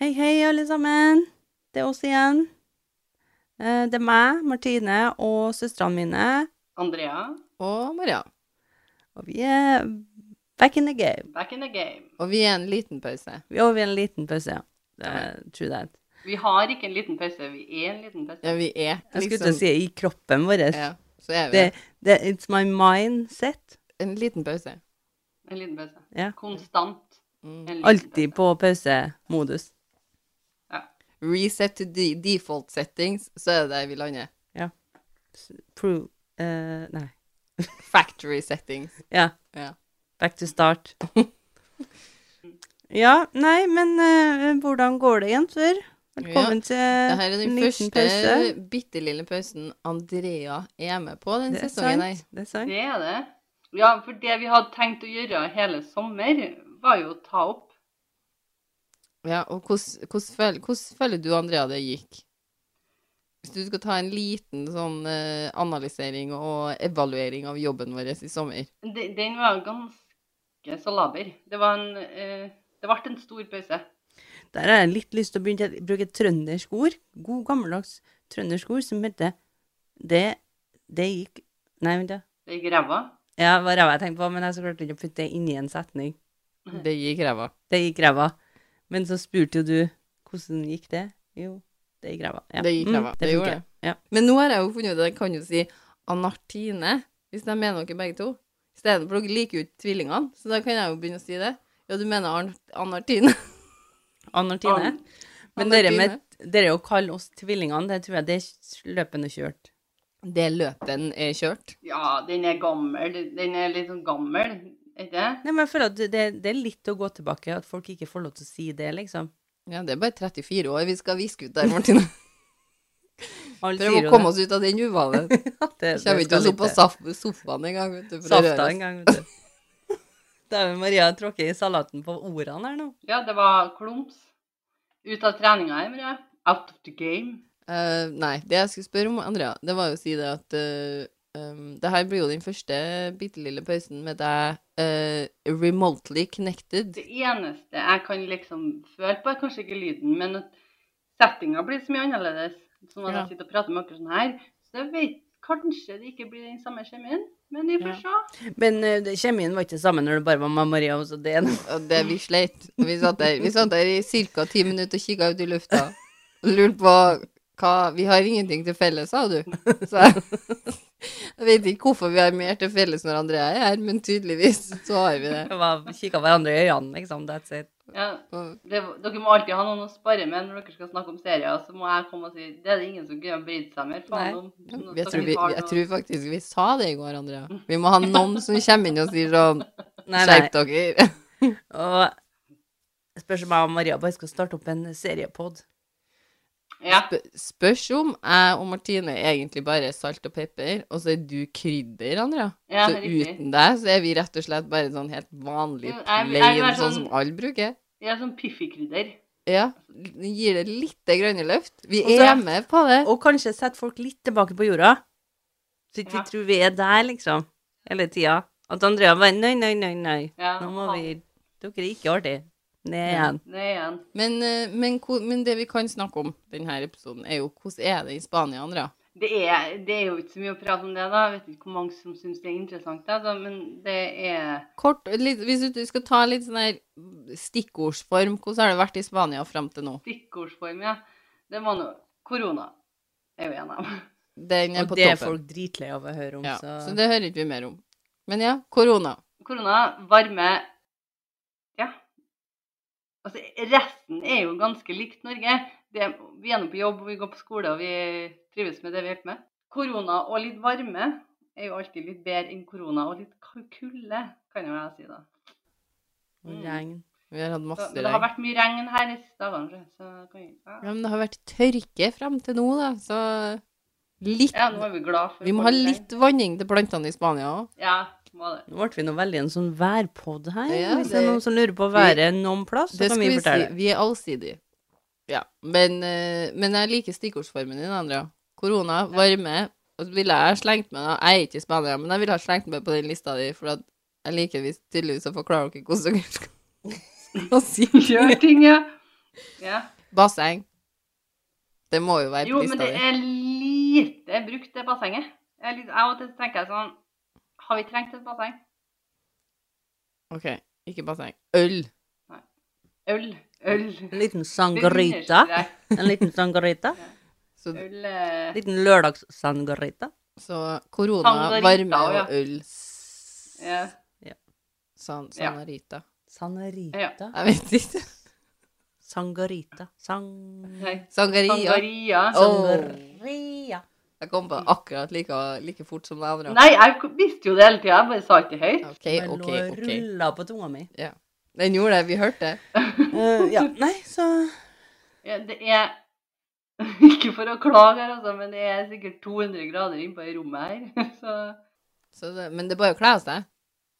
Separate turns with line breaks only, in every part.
Hei, hei, alle sammen. Det er oss igjen. Eh, Det er meg, Martine, og søstrene mine.
Andrea,
og Maria.
Og vi er back in the game.
back in the game.
Og vi er en liten pause.
Vi er over i en liten pause, ja. Det er true that.
Vi har ikke en liten pause, vi er en liten pause.
Ja, vi er liksom-
Jeg skulle til å si i kroppen vår.
ja, Så er vi
Det, det, it's my mindset.
en liten pause.
En liten pause.
Ja.
Konstant.
Mm.
En liten
Alltid
pause.
på pausemodus.
Reset to de default settings, så er det der vi lander.
Pro... eh, nei.
Factory settings.
Ja.
Ja.
Back to start. ja, nei, men eh, hvordan går det, jenter? Velkommen
Dette
til
er
en
den
liten
første
pause.
bitte lille pausen Andrea er med på den
Det er
sesongen her.
sant. Det er sant.
Det er det. Ja, for det vi hadde tenkt å gjøre hele sommer, var jo å ta opp.
Ja, og hvordan hvordan føl, hvordan føler du, Andrea, det gikk? Hvis du skal ta en liten sånn eh, analysering og evaluering av jobben vår i sommer.
De- Den var ganske så laber. Det var en eh, Det ble en stor pause.
Der har jeg litt lyst til å begynne å bruke et trøndersk ord. God, gammeldags trøndersk ord som heter Det, det gikk Nei, vent, ja.
Det gikk ræva.
Ja, det var ræva jeg tenkte på, men jeg så klarte ikke å putte det inni en setning. Mm.
Det gikk ræva.
Det gikk ræva. Men så spurte jo du hvordan gikk det? Jo, det gikk ræva. Ja.
Det gikk ræva.
Mm,
Det gjorde
funker. Ja.
Men nå har jeg jo funnet ut at jeg kan jo si Anartine, hvis jeg mener dere begge to. I stedet for dere liker jo ikke tvillingene, så da kan jeg jo begynne å si det. Ja, du mener Arn- Anartine.
Anartine.
An-
Men
Anartine.
dere med dere å kalle oss tvillingene, det tror jeg det er løpende kjørt.
Det løpen er kjørt.
Ja, den er gammel. Den er litt sånn gammel, er det?
Nei, men jeg føler at det, det er litt å gå tilbake, at folk ikke får lov til å si det, liksom.
Ja, det er bare 34 år vi skal viske ut der, Martine.
Alle
Prøv å komme oss ut av den uvanen.
det,
Kommer
skal
ikke oss opp
litt-
på
eh,
saf- sofaen engang, vet du. for å
safta en
røre oss.
gang, vet du. Dæven Maria tråkker i salaten på ordene her nå.
Ja, det var klumps. Ut av treninga, Emre. Out of the game.
Eh, nei, det jeg skulle spørre om, Andrea, det var jo å si det at eh, um, det her blir jo den første bitte lille pausen med deg eh, remotely connected.
Det eneste jeg kan liksom føle på, er kanskje ikke lyden, men at settinga blir så mye annerledes. Sånn at
Ja.
jeg sitter og prater med dere sånn her. Så jeg vet kanskje det ikke blir den samme kjemien, men vi får se.
Men eh, det- kjemien var ikke sammen når det bare var mamma Maria og så det ene.
Og det vi sleit. Og Vi satt der, vi satt der i ca. ti minutter og kikka ut i lufta og lurte på hva Vi har ingenting til felles, sa du. Så jeg, jeg vet ikke hvorfor vi har mer til felles når Andrea er her, men tydeligvis så har vi det.
Kikka hverandre i øynene, liksom. That's it.
Ja,
Og
det, dere må alltid ha noen å spare med når dere skal snakke om serier. Så må jeg komme og si det er det ingen som greier å bryte seg mer
Nei.
faen om. Sånn at
jeg tror,
dere
vi,
har
jeg
noe-
tror faktisk vi sa det i går, Andrea. Vi må ha noen som kommer inn og sier sånn
Nei, nei.
Skjerp dere.
Og spørs om jeg og Maria bare skal starte opp en seriepod.
ja,
Sp- Spørs om jeg og Martine egentlig bare er salt og pepper, og så er du krydder, Andrea.
ja,
så
riktig.
uten deg så er vi rett og slett bare sånn helt vanlig
Jo, jeg- jeg vil
plain,
være
sånn,
sånn-
som alle bruker.
Jeg er sånn piffikrydder.
Ja. Gir det lite grønne løft. Vi
Og så-
er med på det.
Og kanskje sette folk litt tilbake på jorda. Så ikke
Ja.
vi tror vi er der, liksom, hele tida. At Andrea bare Nei, nei, nei, nei.
Ja,
Nå må
faen,
vi Dere er ikke artig. Ned igjen.
Det er igjen.
Men, eh, men, ko- men det vi kan snakke om denne episoden, er jo hvordan er det i Spania, Andrea?
Det er, det er jo ikke så mye å prate om det, da. Jeg vet ikke hvor mange som syns det er interessant, da, da, men det er
Kort, litt, Hvis du skal ta litt sånn her stikkordsform, hvordan har det vært i Spania fram til nå?
stikkordsform, ja. Det var nå Korona er jo en av dem.
Den er
Og
på
det er
toppen.
folk dritlei av å høre om,
Ja,
så,
så det hører ikke vi mer om. Men ja, korona.
Korona, varme Ja. Altså, resten er jo ganske likt Norge. Det, vi er nå på jobb, og vi går på skole, og vi trives med det vi holder med. Korona og litt varme er jo alltid litt bedre enn korona og litt kald kulde, kan jo jeg si, da.
og regn.
Vi har hatt
Så, men
masse
det har
regn.
vært mye regn her de siste dagene, så kan jeg, ja.
Ja, men det har vært tørke fram til nå, da, så litt
Ja, nå er vi glad for
Vi må
for
ha
det.
litt vanning til plantene i Spania òg.
Ja, må det.
Nå ble vi nå veldig en sånn værpod her.
Ja,
Hvis det er
det-
noen som lurer på været noen plass, så
Det
kan
skal
vi
vi si.
fortelle.
Vi er allsidige. Ja. Men, eh, men jeg liker stikkordsformen din, Andrea. Korona, varme. Og så ville jeg ha slengt med da. Jeg er ikke i Spania, men jeg ville ha slengt med på den lista di, for at jeg liker hvis tydeligvis å forklare dere hvordan dere skal skal si
Gjør ting, ja. Ja.
Basseng. Det må jo være
Jo,
på
men
lista
det
di.
er lite brukt, det bassenget. Jeg er litt- Av og til tenker jeg sånn Har vi trengt et basseng?
OK, ikke basseng. Øl.
Øl. Øl.
En liten sangarita. En liten sangarita.
Så,
Øl eh,
En liten lørdagssangarita.
så korona,
Sangarita,
varme
ja.
og øl.
ja.
San,
Ja.
Sanarita.
Sanarita.
Jeg vet ikke.
Sangarita. Sang...
Nei.
Sangaria.
Sangaria.
Sangaria.
Jeg kom på akkurat like, like fort som det andre.
Mm. Nei, jeg k- visste jo det hele tida, jeg bare sa ikke det høyt.
OK,
Den
Eh, OK,
lå og
OK.
rulla på tunga mi.
Den gjorde det. Vi hørte det.
Eh, ja, nei, så
Ja, Det er Ikke for å klage her, altså, men det er sikkert 200 grader innpå i rommet her. Så
Så det. Men det er bare å kle av seg.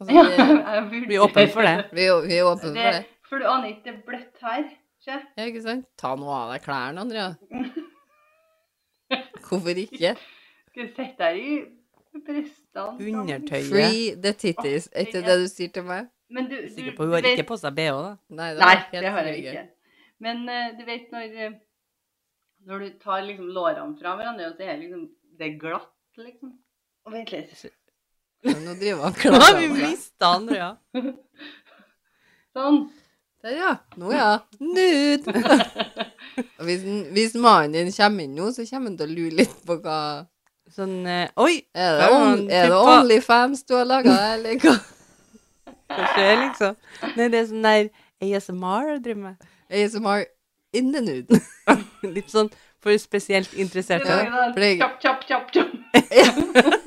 Altså,
ja,
vi, er-
jeg vurderer
Vi er åpne for det.
vi, er- vi er åpne for
det.
det.
For du aner ikke, det er bløtt her. Se.
Ja, ikke sant? Ta nå av deg klærne, Andrea. Hvorfor ikke?
Skal du sitte her i brystene?
Undertøyet
Free the titties, er ikke det du sier til meg?
Men du, du,
Sikker på hun har ikke på seg BH, da?
Nei, det,
Nei,
var helt
det har jeg
free.
ikke. Men eh, du vet når eh, Når du tar liksom lårene fra hverandre, og så er liksom det er glatt, liksom. Og vent litt.
Men Nå driver han
Nå har
klar
vi mista Andrea.
Sånn.
Der, ja. Nå, ja. Nude. Og hvis, hvis mannen din kommer inn nå, så kommer han til å lure litt på hva
Sånn eh, Oi!
Er det,
Der var
on,
han
er det
puppa.
Onlyfans du har laga, eller hva?
Hva skjer, liksom? Nei, det er sånn der ASMR jeg driver med.
ASMR in the nude.
Litt sånn for spesielt
Det
interesserte.
var
Ja,
jo sånn,
for det-
Kjapp, kjapp, kjapp, kjapp.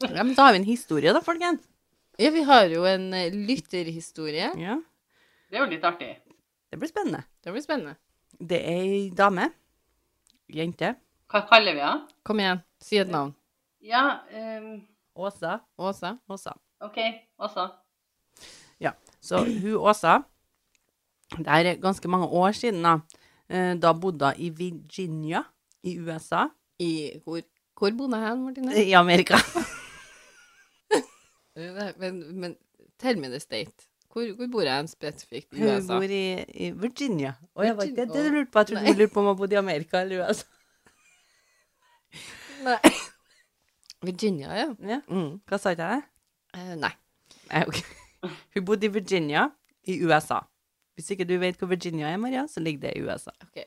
Ja, men da har vi en historie, da, folkens.
Ja, vi har jo en eh, lytterhistorie.
Ja,
Det er jo litt artig.
Det blir spennende.
Det blir spennende.
Det er ei dame. Jente.
Hva kaller vi henne?
Kom igjen, si et navn.
Ja, ehm,
Åsa.
Åsa.
Åsa.
OK, altså.
Så hun Åsa Det her er ganske mange år siden, da. eh, Da bodde hun i Virginia i USA.
I hvor, hvor bodde jeg hen, Martine?
Eh, I Amerika.
Eh, Nei, Men, men tell me the state. Hvor, hvor bor jeg en spesifikt i
Hun
USA?
bor i, i Virginia. Og jeg var ikke det
Virginia.
du lurte på. Jeg trodde
Nei.
du lurte på om hun bodde i Amerika eller USA.
Nei. Virginia, ja.
Ja.
Mm.
Hva sa ikke jeg?
Eh, nei.
Nei, ok. Hun bodde i Virginia i USA. Hvis ikke du vet hvor Virginia er, Maria, så ligger det i USA.
Ok.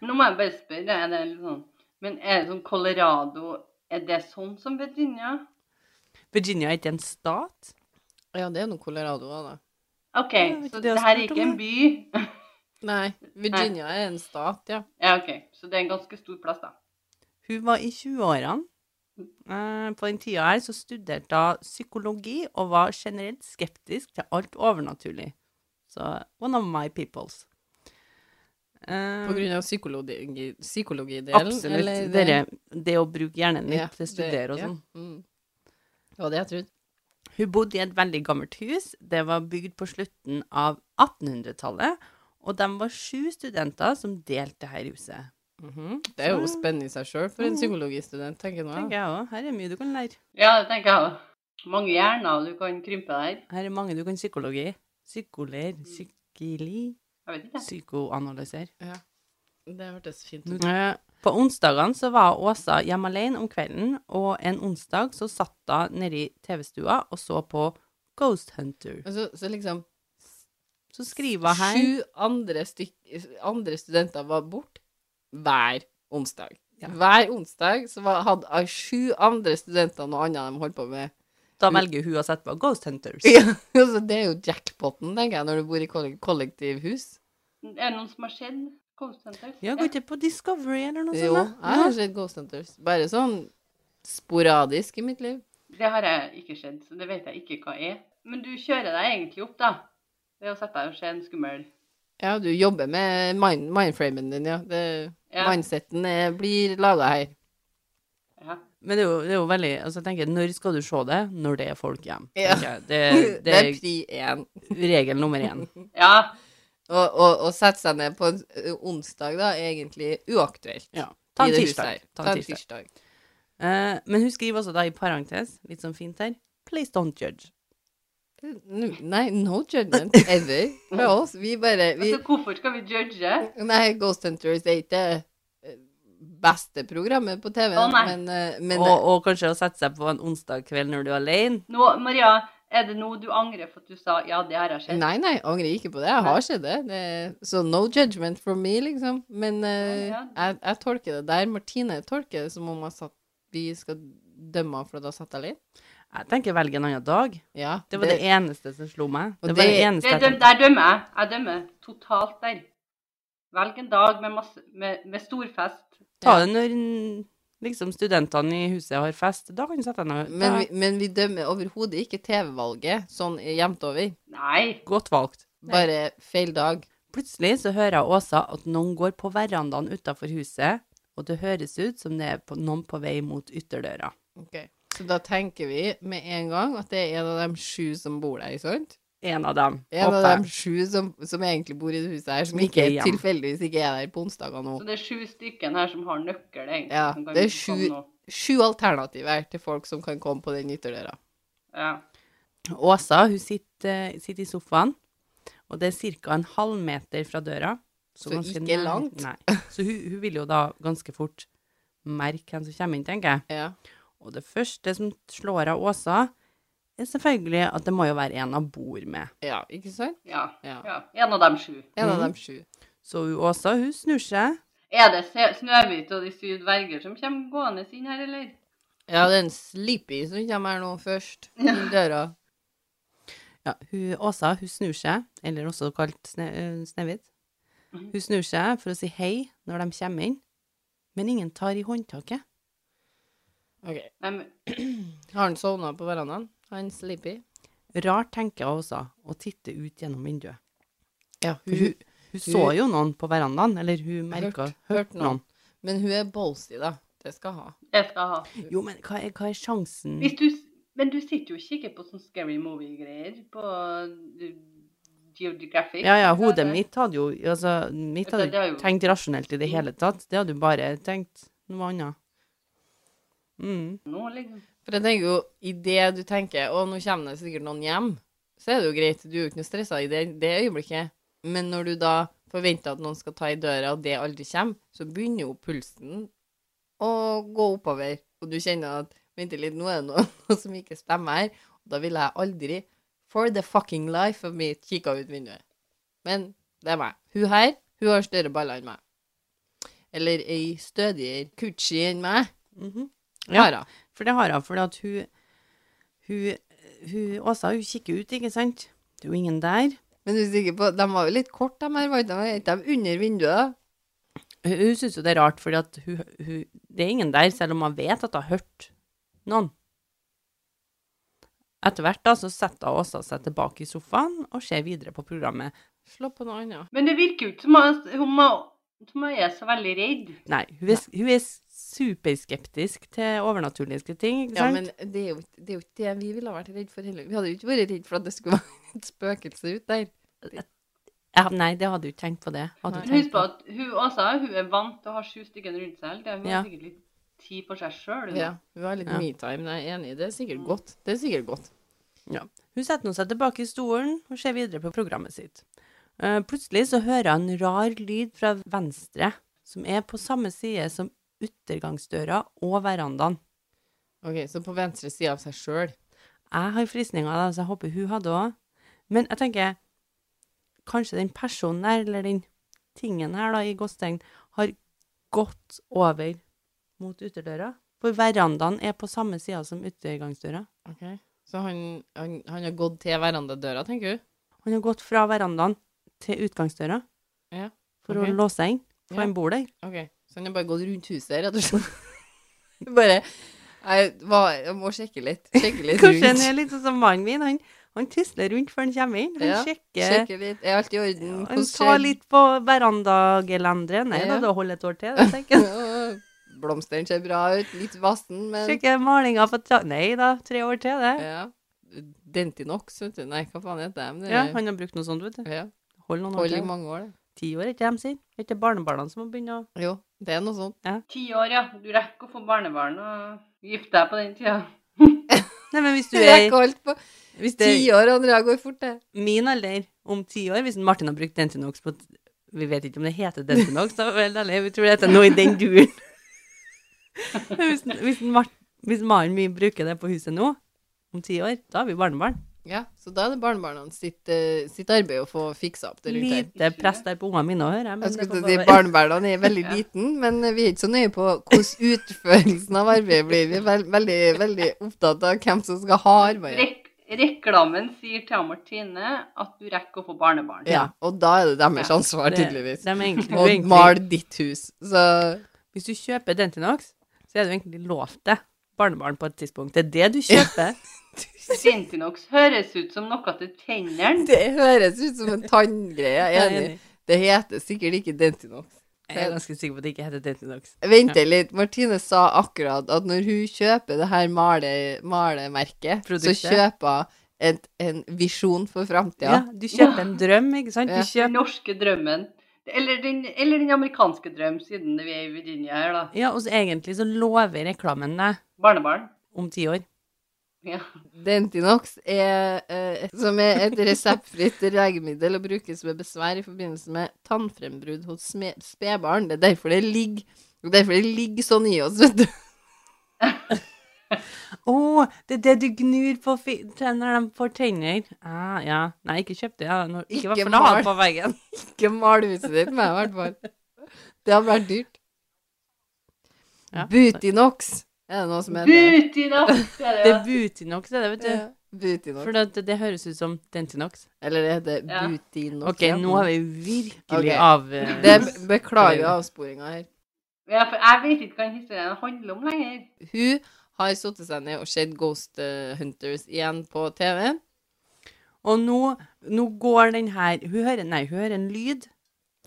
Men Nå må jeg bare spørre. Er det litt sånn, men er det sånn Colorado Er det sånn som Virginia?
Virginia er ikke en stat.
Ja, det er noe Colorado også, da.
OK,
Ja, vet
så
du, det
det
har
her er
spurt om
ikke en by.
Nei, Virginia er en stat, ja.
Ja, OK. Så det er en ganske stor plass, da.
Hun var i 20-årene. Eh, På den tida her så studerte hun psykologi og var generelt skeptisk til alt overnaturlig. Så one of my peoples. Eh,
På grunn av psykologi, psykologidelen.
Absolutt.
eller
det, det å bruke hjernen litt
Ja,
til å studere og
det- ja.
sånn.
Mm. Det var det jeg trodde.
Hun bodde i et veldig gammelt hus. Det var bygd på slutten av 1800-tallet. Og de var sju studenter som delte her i huset.
Mhm. Det er jo spennende i seg sjøl for en psykologistudent, Mm. tenker jeg nå.
Tenker
Ja.
jeg også. Her er mye du kan lære.
Ja, det tenker jeg òg. Mange hjerner du kan krympe der.
Her er mange du kan psykologi. Psykoler, psykili,
Jeg vet ikke.
psykoanalysere.
Det hørtes fint ut.
Eh, På onsdagene så var Åsa hjemme alene om kvelden, og en onsdag så satt hun nede i TV-stua og så på Ghost Hunter.
Og Så, så liksom
Så skriver hun her
Sju andre, stykk- andre studenter var borte hver onsdag.
Ja.
Hver onsdag så var, hadde av sju andre studenter noe annet de holdt på med.
Da velger hun å sette på Ghost Hunters.
så det er jo jackpoten, tenker jeg, når du bor i koll- kollektivhus.
Er det noen som har sett Ghost Hunters?
Ja, går ikke på Discovery eller noe
Jo,
sånt?
jeg
da?
har sett Ghost Hunters. Bare sånn sporadisk i mitt liv.
Det har jeg ikke sett, så det vet jeg ikke hva er. Men du kjører deg egentlig opp, da. Ved å sette deg og se en skummel
Ja, du jobber med mind, mindframen din, ja. Det,
Ja.
Mindseten er, blir laga her.
Eh,
ja.
Men det er, jo, det er jo veldig altså jeg tenker, Når skal du se det? Når det er folk hjemme.
Ja.
tenker jeg. Det,
Det er
det
pri én.
er regel nummer én.
ja.
Å å- å sette seg ned på en ø, onsdag, da, er egentlig uaktuelt.
Ja. Ta
i
en
det
tirsdag.
huset her.
Ta en tirsdag. Eh, men hun skriver også da i parentes, litt sånn fint her Please don't judge.
Nei, no judgment ever fra oss. Vi bare vi,
Altså, hvorfor skal vi judge?
Nei, Ghost Hunters er ikke det beste programmet på TV,
Å, nei.
men, eh, men
og, og kanskje å sette seg på en onsdag kveld når du er alene.
Nå, Maria, er det nå du angrer for at du sa 'ja, det her har skjedd'?
Nei, nei, angrer ikke på det. Jeg har sett det. det så no judgment from me, liksom. Men eh,
Ja,
jeg, jeg tolker det der. Martine tolker det som om jeg satt, vi skal dømme henne for at hun satt alene.
Jeg tenker velg en annen dag.
Ja,
Det var det, eneste som slo meg.
Og
Det var det,
det-
eneste
Det,
jeg
døm,
tenkte.
der dømmer jeg. Jeg dømmer totalt der. Velg en dag med, masse, med, med storfest.
Ta det når mm, liksom, studentene i huset har fest. Da kan du sette deg ned.
men,
Da-
vi, men vi dømmer overhodet ikke TV-valget sånn jevnt over.
Nei.
Godt valgt.
Bare feil dag.
Plutselig så hører jeg Åsa at noen går på verandaen utafor huset, og det høres ut som det er på, noen på vei mot ytterdøra.
Så da tenker vi med en gang at det er en av de sju som bor der, sant?
En av dem.
En av
håper jeg.
de sju som, som egentlig bor i det huset her, som
Ikke
ikke
igjen.
tilfeldigvis ikke er der på onsdager nå.
Så det er sju stykken her som har nøkkel, egentlig.
Ja,
som kan
det er
vise
sju-
sånn nå.
Sju alternativer til folk som kan komme på den ytterdøra.
Ja.
Åsa hun sitter, sitter i sofaen, og det er ca. en halvmeter fra døra.
Så
ganske
ikke
nær-
langt.
Nei. Så hun, hun vil jo da ganske fort merke hvem som kommer inn, tenker jeg.
Ja.
Og det første som slår av Åsa, er selvfølgelig at det må jo være en hun bor med.
ja, ikke sant?
Ja.
Ja.
ja. En av dem sju.
En av
Mhm.
de sju.
Så hun, Åsa hun snur seg.
Er det Se- Snøhvit og de syv dverger som kommer gående inn her, eller?
Ja, det er en sleepy som kommer her nå først. I døra.
Ja, hun, Åsa hun snur seg, eller også kalt sne, øh, Snehvit.
Mhm.
Hun snur seg for å si hei når de kommer inn, men ingen tar i håndtaket.
Ok.
Nei, men-
Har han sovna på verandaen? Han sleepy?
Rart, tenker jeg også, og titter ut gjennom vinduet.
Ja,
For hun, hun så jo noen på verandaen, eller hun merka
Hørt- hørt noen. Men hun er ballsy, da. Det skal ha.
Jeg skal ha.
Jo, men hva er, hva er sjansen
Hvis du, s- men du sitter jo og kikker på sånn scary movie-greier på uh, Geographic.
Ja, ja,
eller hva
hodet
det er.
mitt hadde jo Altså, mitt
Vet du,
hadde
det er
ikke
jo-
tenkt rasjonelt i det hele tatt. Det hadde jo bare tenkt noe annet. Mm.
Nå, liksom.
For jeg tenker jo, idet du tenker å, nå kommer det sikkert noen hjem, så er det jo greit. Du er jo ikke noe stressa i det, det øyeblikket. Men når du da forventer at noen skal ta i døra, og det aldri kommer, så begynner jo pulsen å gå oppover. Og du kjenner at vent litt, nå er det noe, noe som ikke stemmer her. Og da ville jeg aldri, for the fucking life of me, kikka ut vinduet. Men det er meg. Hun her, hun har større baller enn meg. Eller ei stødigere kutsji enn meg.
Mhm.
Ja.
Ja, for det har hun. For at hun, hun, hun Åsa, hun kikker ut, ikke sant? Det er jo ingen der.
Men du er sikker på, de var jo litt kort, de her, var ikke de? Ikke de under vinduet?
Hun, hun syns jo det er rart, for hun, hun, det er ingen der, selv om hun vet at hun har hørt noen. Etter hvert da, så setter hun Åsa seg tilbake i sofaen og ser videre på programmet.
Slå på noe annet.
Men det virker jo ikke som hun, hun, må- hun er så veldig redd.
Nei, hun er, hun er superskeptisk til overnaturlige ting, ikke sant?
Ja, men det er, jo, ikke- det er jo ikke det vi ville ha vært redd for heller. Vi hadde jo ikke vært redd for at det skulle være et spøkelse ut der.
Ja, nei, det hadde du ikke tenkt på det. Hadde
Nei.
du
Men husk
tenkt
på
på.
at hun, også, hun er vant til å ha sju stykker rundt seg. hele tiden. Hun
Ja.
har sikkert litt tid for seg sjøl.
Ja, vi har litt
Ja.
me-time, jeg er enig. Det er sikkert godt. Det er sikkert godt.
Hun setter nå seg tilbake i stolen og ser videre på programmet sitt. Eh, plutselig så hører hun en rar lyd fra venstre, som er på samme side som uttergangsdøra og verandaen.
Ok, så på venstre side av seg selv.
Jeg har fristninger, da, så jeg håper hun hadde òg. Men jeg tenker Kanskje den personen der, eller den tingen her, da, i gåstegn, har gått over mot ytterdøra. For verandaen er på samme sida som uttergangsdøra.
Ok. Så han, han, han har gått til verandadøra, tenker du?
Han har gått fra verandaen til utgangsdøra
Ja,
for
ok.
å låse seg inn, for
Ja.
han bor der.
Ok, så han har bare gått rundt huset, rett og slett. bare, jeg, var, jeg må sjekke litt. Sjekke litt rundt.
Kanskje han er litt sånn som mannen min. Han, han tusler rundt før han kommer inn. Han
Ja,
sjekker.
Sjekke litt. Er alt i orden?
Han
Hvordan
tar
skjer-
litt på verandagelenderet. Nei
Ja.
da, det holder et år til. Jeg tenker.
Blomstene ser bra ut, litt vassen, men
Sjekker malinga på tra... Nei da, tre år til, det.
ja. Dentinox, vet du. Nei, hva faen heter de? Det
Ja,
er-
han har brukt noe sånt, vet du.
ja.
Hold noen år
Holder i
til.
mange år, det.
Ti år, er ikke det de sier? Er ikke det barnebarna som må begynne å
Jo, det er noe sånt.
Ti år, ja. Du rekker å få barnebarn og gifte deg på den tida.
Nei, men hvis du
Jeg rekker
er
alt på
hvis det
ti
er
år, Andrea går fort, det.
min alder om ti år, hvis Martin har brukt Dentinox på Vi vet ikke om det heter Dentinox, da vel, eller vi tror det heter noe i den duren. Men hvis, hvis, Mart, hvis mannen min bruker det på huset nå, om ti år, da er vi barnebarn.
Ja, så da er det barnebarna sitt, eh, sitt arbeid å få fiksa opp det rundt her.
Lite press der på ungene mine òg, hører jeg.
Jeg
Men det
skulle
får
til å si
bare være-
Barnevernet er veldig liten, men vi er ikke så nøye på hvordan utførelsen av arbeidet blir. Vi er vel- veldig, veldig opptatt av hvem som skal ha arbeidet.
Rek reklamen sier til Martine at du rekker å få barnebarn.
Ja, og da er det deres
Ja,
ansvar, tydeligvis.
de er egentlig,
Å
egentlig,
male ditt hus. Så
Hvis du kjøper Dentinox, så er du egentlig lovt det. Barnebarn på et tidspunkt. Det er det du kjøper.
Dentinox høres ut som noe til tennene.
det høres ut som en tanngreie, jeg er
Jeg er
enig.
enig.
Det heter sikkert ikke Dentinox.
Jeg er ganske sikker på at det ikke heter Dentinox.
Vente litt, Martine sa akkurat at når hun kjøper det her male, malemerket, så
Produktet.
kjøper hun et- en visjon for
Ja.
framtida.
du kjøper en drøm, ikke sant?
Ja.
Du
Den
kjøper
norske drømmen. Eller den, eller den amerikanske drøm, siden vi er i Virginia her, da.
Ja, og så egentlig så lover reklamen deg
Barnebarn.
om ti år.
Ja.
Dentinox er, eh, som er et reseptfritt legemiddel og brukes ved besvær i forbindelse med tannfrembrudd hos sme- spedbarn. Det er derfor det ligger det er derfor det ligger sånn i oss, vet du.
Å, det er det du gnur på fi- tenner de får tenner. Ah, ja. Nei, ikke kjøp det. Ja. Nå, ikke i
Ikke
hvert fall ha
mal.
det på veggen.
Ikke mal huset ditt med, i hvert fall. Det hadde vært dyrt.
Ja.
Butinox er det noe som heter.
Butinox! er det,
Det
ja.
er Butinox, det er det, vet du.
Ja, Butinox.
For det, det høres ut som Dentinox.
Eller det heter
Ja.
Butinox.
Ok, nå er vi virkelig
Ok.
av eh,
Det er- beklager avsporinga her.
Ja, for jeg vet ikke hva den historien handler om lenger.
Hun har satt seg ned og sett Ghost eh, Hunters igjen på TV.
Og nå, nå går den her Hun hører, nei, hun hører en lyd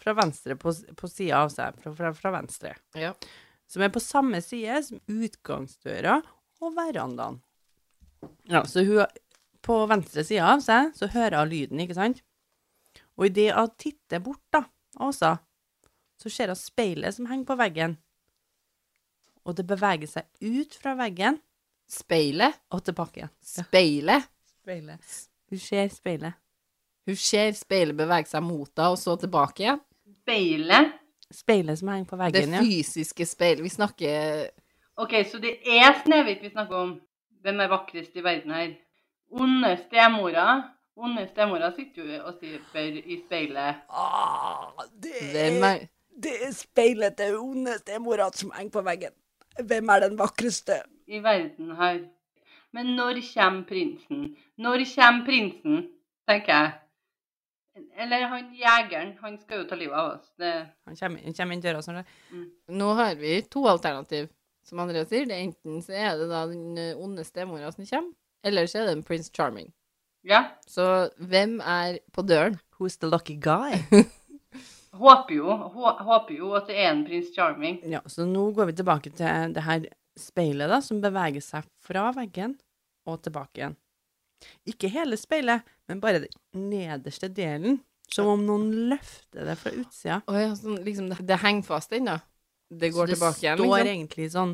fra venstre på, s- på sida av seg, fra, fra, fra venstre,
Ja.
som er på samme side som utgangsdøra og verandaen. Ja, så hun På venstre sida av seg så hører hun lyden, ikke sant? Og idet hun titter bort, da, Åsa, så ser hun speilet som henger på veggen. Og det beveger seg ut fra veggen
Speilet.
og tilbake igjen.
Speilet.
Speilet. Hun ser speilet.
Hun ser speilet bevege seg mot deg, og så tilbake igjen.
Speilet.
Speilet som henger på
Det
veggen, ja.
fysiske speilet. Vi snakker
OK, så det er Snehvit vi snakker om. Hvem er vakrest i verden her? Onde stemora. Onde stemora sitter jo og sier i speilet.
Ah, det
Hvem er
det er speilet til onde stemora som henger på veggen. Hvem er den vakreste?
i verden her. Men når kommer prinsen? Når kommer prinsen, tenker jeg. Eller han jegeren, han skal jo ta livet av oss. Det,
Han kommer, han kommer inn døra sånn. der.
Nå har vi to alternativ, som Andrea sier. Det er enten så er det da den eh, onde stemora som kommer, eller så er det en Prince Charming.
ja,
Så hvem er på døren?
Who's the lucky guy?
håper jo, hå, håper jo at det er en prins Charming.
ja, så nå går vi tilbake til det her speilet da, som beveger seg fra veggen og tilbake igjen. Ikke hele speilet, men bare den nederste delen. Som om noen løfter det fra utsida.
Å ja, sånn, liksom det, det henger fast ennå. Det går
så det
tilbake igjen,
står
liksom.
egentlig sånn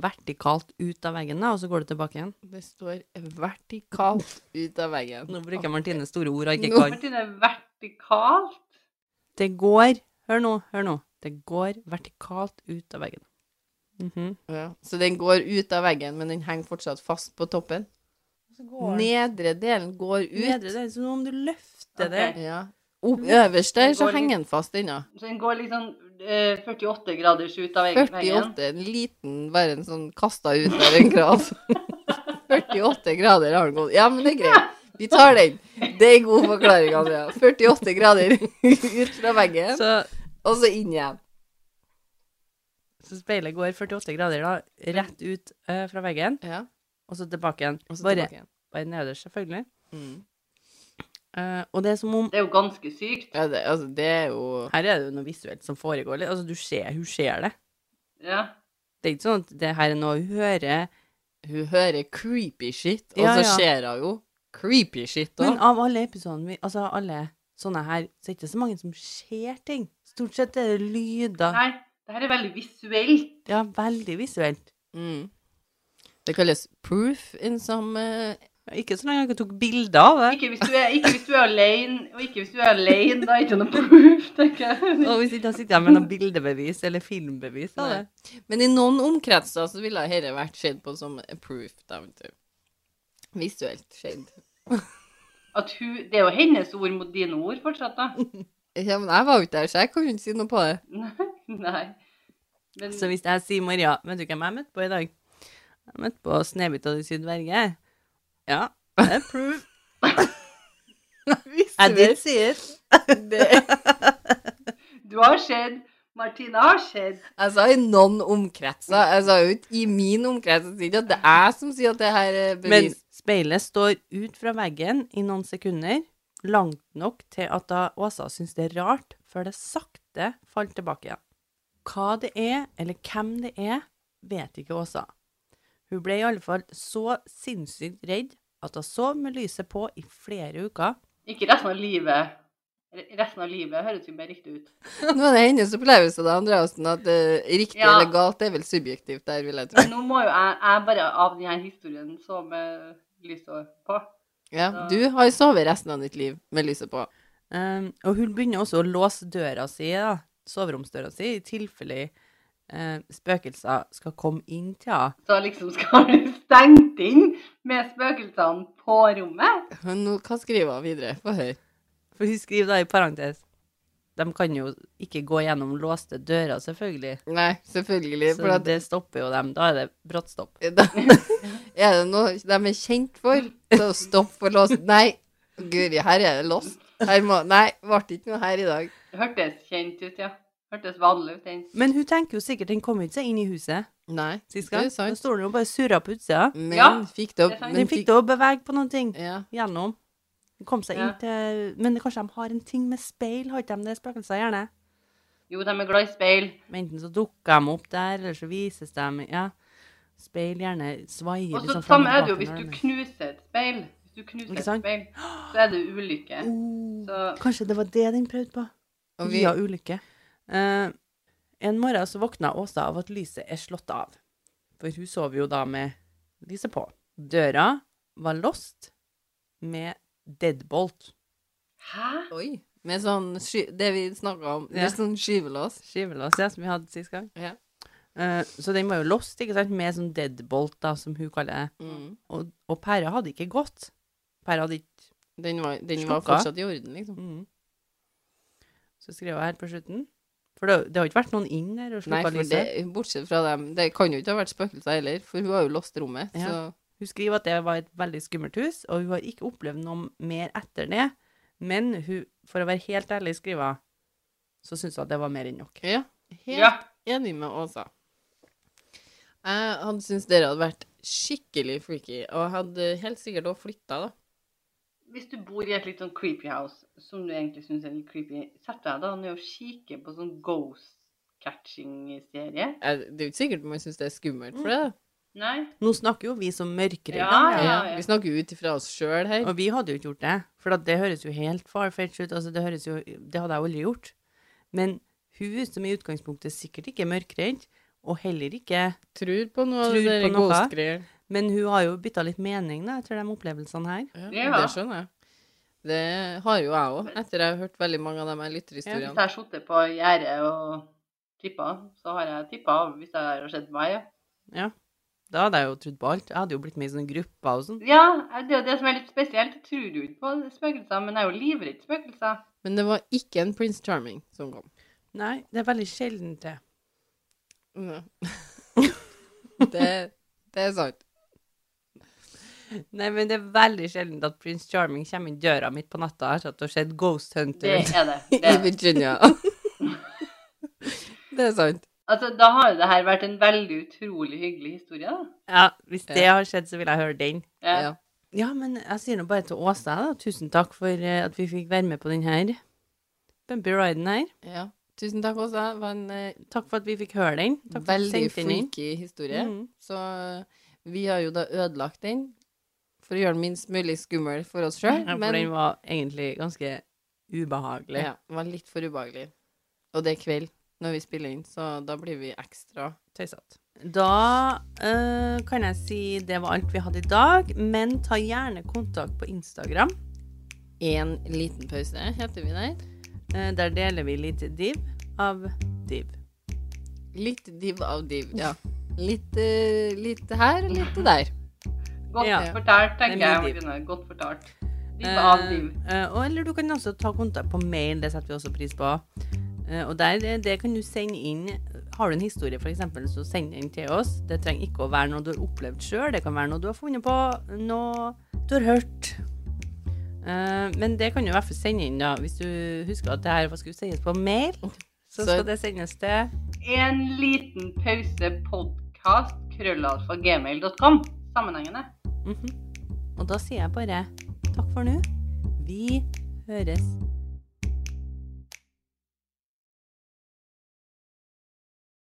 vertikalt ut av veggen, da, og så går det tilbake igjen.
Det står vertikalt ut av veggen.
Nå bruker Martine store ord og
Nå-
ikke kan.
Martine, vertikalt?
Det går Hør nå, hør nå. Det går vertikalt ut av veggen. Mhm.
Ja. Så den går ut av veggen, men den henger fortsatt fast på toppen. Nedre delen går ut.
Nedre del, som om du løfter det.
Ok.
Ja. Opp, øverst der
Den
så
går
henger den fast ennå.
Så den går liksom eh, 48 graders ut av veggen.
48, en liten, bare en sånn kasta ut av en grav. 48 grader har den gått. Ja, men det er greit. Vi tar den. Det er en god forklaring, Andrea. 48 grader ut fra veggen,
Så,
og så inn igjen.
så speilet går 48 grader da, rett ut eh, fra veggen,
Ja,
og så tilbake igjen.
og så
Bare,
tilbake igjen.
bare nederst, selvfølgelig.
Mm.
Eh, og det er som om
Det er jo ganske sykt.
Ja, det, altså, det er jo
Her er det jo noe visuelt som foregår litt. Altså, du ser, hun ser det.
Ja.
Det er ikke sånn at det her er noe hun hører.
Hun hører creepy shit, og
Ja,
så
ja.
ser hun jo creepy shit
Men
òg.
av alle episodene, vi- altså alle sånne her, så er det ikke så mange som ser ting. Stort sett er det lyder.
Nei, det her er veldig visuelt.
Ja, veldig visuelt.
Mm. Det kalles proof in some eh,
Ikke så lenge jeg ikke tok bilder av det.
Ikke hvis du er, ikke hvis du er alene, og ikke hvis du er alene, da er det ikke noe proof, tenker jeg.
Og hvis ikke, da sitter jeg med noen bildebevis eller filmbevis av det.
Nei. Men i noen omkretser så ville dette vært sett på som proof, da, vet du. Visuelt skjedd.
At hun, det er jo hennes ord mot dine ord fortsatt, da.
Ja, men jeg var jo ikke der, så jeg kan jo ikke si noe på det.
Nei. Men
Så hvis jeg sier Maria, vet du hvem jeg møtte på i dag? Jeg møtte på Snehvit og de syv dverger. Ja, det er proof. I did see it.
det.
du har sett, Martina har sett.
Jeg sa i noen omkretser. Jeg sa jo ikke i min omkrets. Jeg sier ikke at det er jeg som sier at det her er
Men
bevis.
speilet står ut fra veggen i noen sekunder, langt nok til at da Åsa syns det er rart, før det sakte faller tilbake igjen. Hva det er, eller hvem det er, vet ikke Åsa. Hun ble i alle fall så sinnssykt redd at hun sov med lyset på i flere uker.
Ikke resten av livet. Re- Resten av livet høres jo mer riktig ut.
Nå er det hennes opplevelse da, Andreassen, at eh, riktig
Ja.
eller galt det er vel subjektivt der, vil jeg tro.
Men nå må jo jeg, jeg bare av denne historien så med lyset på.
Ja, du har sovet resten av ditt liv med lyset på.
Um, og hun begynner også å låse døra si, da, soveromsdøra si, i tilfelle eh, spøkelser skal komme inn til henne.
Så liksom skal du stengt inn med spøkelsene på rommet.
Men nå, hva skriver hun videre? Få høre.
For hun skriver da i parentes De kan jo ikke gå gjennom låste dører, selvfølgelig.
Nei, selvfølgelig.
Så
For at
det stopper jo dem. Da er det brått stopp.
Da, er det noe de er kjent for? Så stopp for låst. Nei, guri, her er det låst. Her må, nei, ble det ikke noe her i dag.
Det hørtes kjent ut, ja. Hørtes vanlig ut, den.
Men hun tenker jo sikkert den kom jo ikke seg inn i huset
Nei,
sist
det
gang.
er
Da
sant.
står den jo bare og surrer på
Mm.
utsida.
Men
Ja,
fikk det
det er
opp.
sant.
Den fikk det å bevege på noen ting
Ja.
gjennom. Den kom seg inn
Ja.
til Men kanskje de har en ting med speil? Har ikke de det spøkelser, gjerne?
Jo, de er glad i speil.
Men Enten så dukker de opp der, eller så vises de Ja. Speil gjerne svaier
Og så
liksom fram
samme
og
er det jo
tilbake
hvis
når
du
de er-
knuser et speil. Hvis du knuser
Ikke
et
sant?
speil, så er det ulykke. Så
Kanskje det var det den prøvde på?
Og vi,
via ulykke. Eh, en morgen så våkna Åsa av at lyset er slått av. For hun sover jo da med lyset på. Døra var låst med deadbolt.
hæ?
oi, med sånn sky, det vi snakket om,
Ja.
litt sånn skyvelås.
Skivelås, ja, som vi hadde sist gang.
Ja.
Eh, så den var jo låst, ikke sant, med sånn deadbolt, da, som hun kaller det.
Mm.
Og, og pæra hadde ikke gått. Pæra hadde ikke
Den, var, den var
Slukka.
fortsatt i orden, liksom.
Mhm. Så skrev jeg her på slutten. For det, det har ikke vært noen inn der og slukka
Nei, for
lyset.
det, bortsett fra dem, det kan jo ikke ha vært spøkelser heller, for hun har jo låst rommet,
Ja.
så...
Hun skriver at det var et veldig skummelt hus, og hun har ikke opplevd noe mer etter det. Men hun, for å være helt ærlig, skriver så syns hun at det var mer enn nok.
Ja, helt
Ja.
enig med Åsa. Jeg hadde syntes dere hadde vært skikkelig freaky, og hadde helt sikkert også flytta, da.
Hvis du bor i et litt sånn creepy house, som du egentlig syns er litt creepy, sett deg da ned og kikke på sånn ghost catching-serie.
Jeg- Det er jo ikke sikkert man syns det er skummelt for det. da.
Nei?
Nå snakker jo vi som mørkere,
Ja,
da,
ja.
Vi snakker jo ut ifra oss sjøl her.
og vi hadde jo ikke gjort det. For at det høres jo helt farfetch ut. Altså, det, høres jo, det hadde jeg aldri gjort. Men hun, som i utgangspunktet sikkert ikke er mørkredd, og heller ikke
Tror på noe av
Tror
det der
på noe.
ghost-greier.
Men hun har jo bytta litt mening da, etter de opplevelsene her.
Ja,
Ja.
Det skjønner jeg. Det har jo jeg òg, etter jeg har hørt veldig mange av de her
Hvis jeg
lytterhistoriene.
har sittet på gjerdet og tippa, så har jeg tippa av hvis det har skjedd meg. ja.
Da hadde jeg jo trodd på alt. Jeg hadde jo blitt med i sånne grupper og sånn.
Ja, det er jo det som er litt spesielt. Jeg tror jo ikke på spøkelser, men jeg er jo livredd spøkelser.
Men det var ikke en Prince Charming som kom.
Nei, det er veldig sjelden det.
Ja. det, det er sant.
Nei, men det er veldig sjelden at prins Charming kommer inn døra midt på natta etter at du har sett Ghost
Det
Hunter.
er det. det,
I
er det.
Virginia. det er sant.
Altså, da har jo det her vært en veldig utrolig hyggelig historie, da.
Ja, hvis det har skjedd, så vil jeg høre den.
Ja.
Ja.
Ja, men jeg sier nå bare til Åsa, da. Tusen takk for eh, at vi fikk være med på den her bumpy riden her.
ja. Tusen takk, Åsa. Det var en eh,
Takk for at vi fikk høre den. Takk for at du
veldig
sendte den inn.
freaky historie.
Mhm.
Så eh, vi har jo da ødelagt den for å gjøre den minst mulig skummel for oss sjøl.
Ja, for den
Men
var egentlig ganske ubehagelig.
ja, den var litt for ubehagelig. Og det er kveld når vi spiller inn, så da blir vi ekstra
Tøysete. Da eh, kan jeg si det var alt vi hadde i dag, men ta gjerne kontakt på Instagram.
En liten pause, heter vi der.
Eh, der deler vi litt div av div.
Litt div av div, ja. Litt, eh, litt her og litt der.
Godt
Ja. Det
fortalt,
er
tenker
mye
jeg.
div.
Martine. Godt fortalt. Div
Eh,
av div.
eh, og eller du kan også ta kontakt på mail, det setter vi også pris på. Eh, og der, eh, det kan du sende inn Har du en historie, f.eks., så send den til oss. Det trenger ikke å være noe du har opplevd sjøl, det kan være noe du har funnet på, noe du har hørt. Eh, men det kan du i hvert fall sende inn, da. Hvis du husker at det her hva skulle sies på mail, så
Så-
skal det sendes til
En liten pause podcast krøllalfa gmail.com. Sammenhengende.
Mhm. Og da sier jeg bare takk for nå. Vi høres.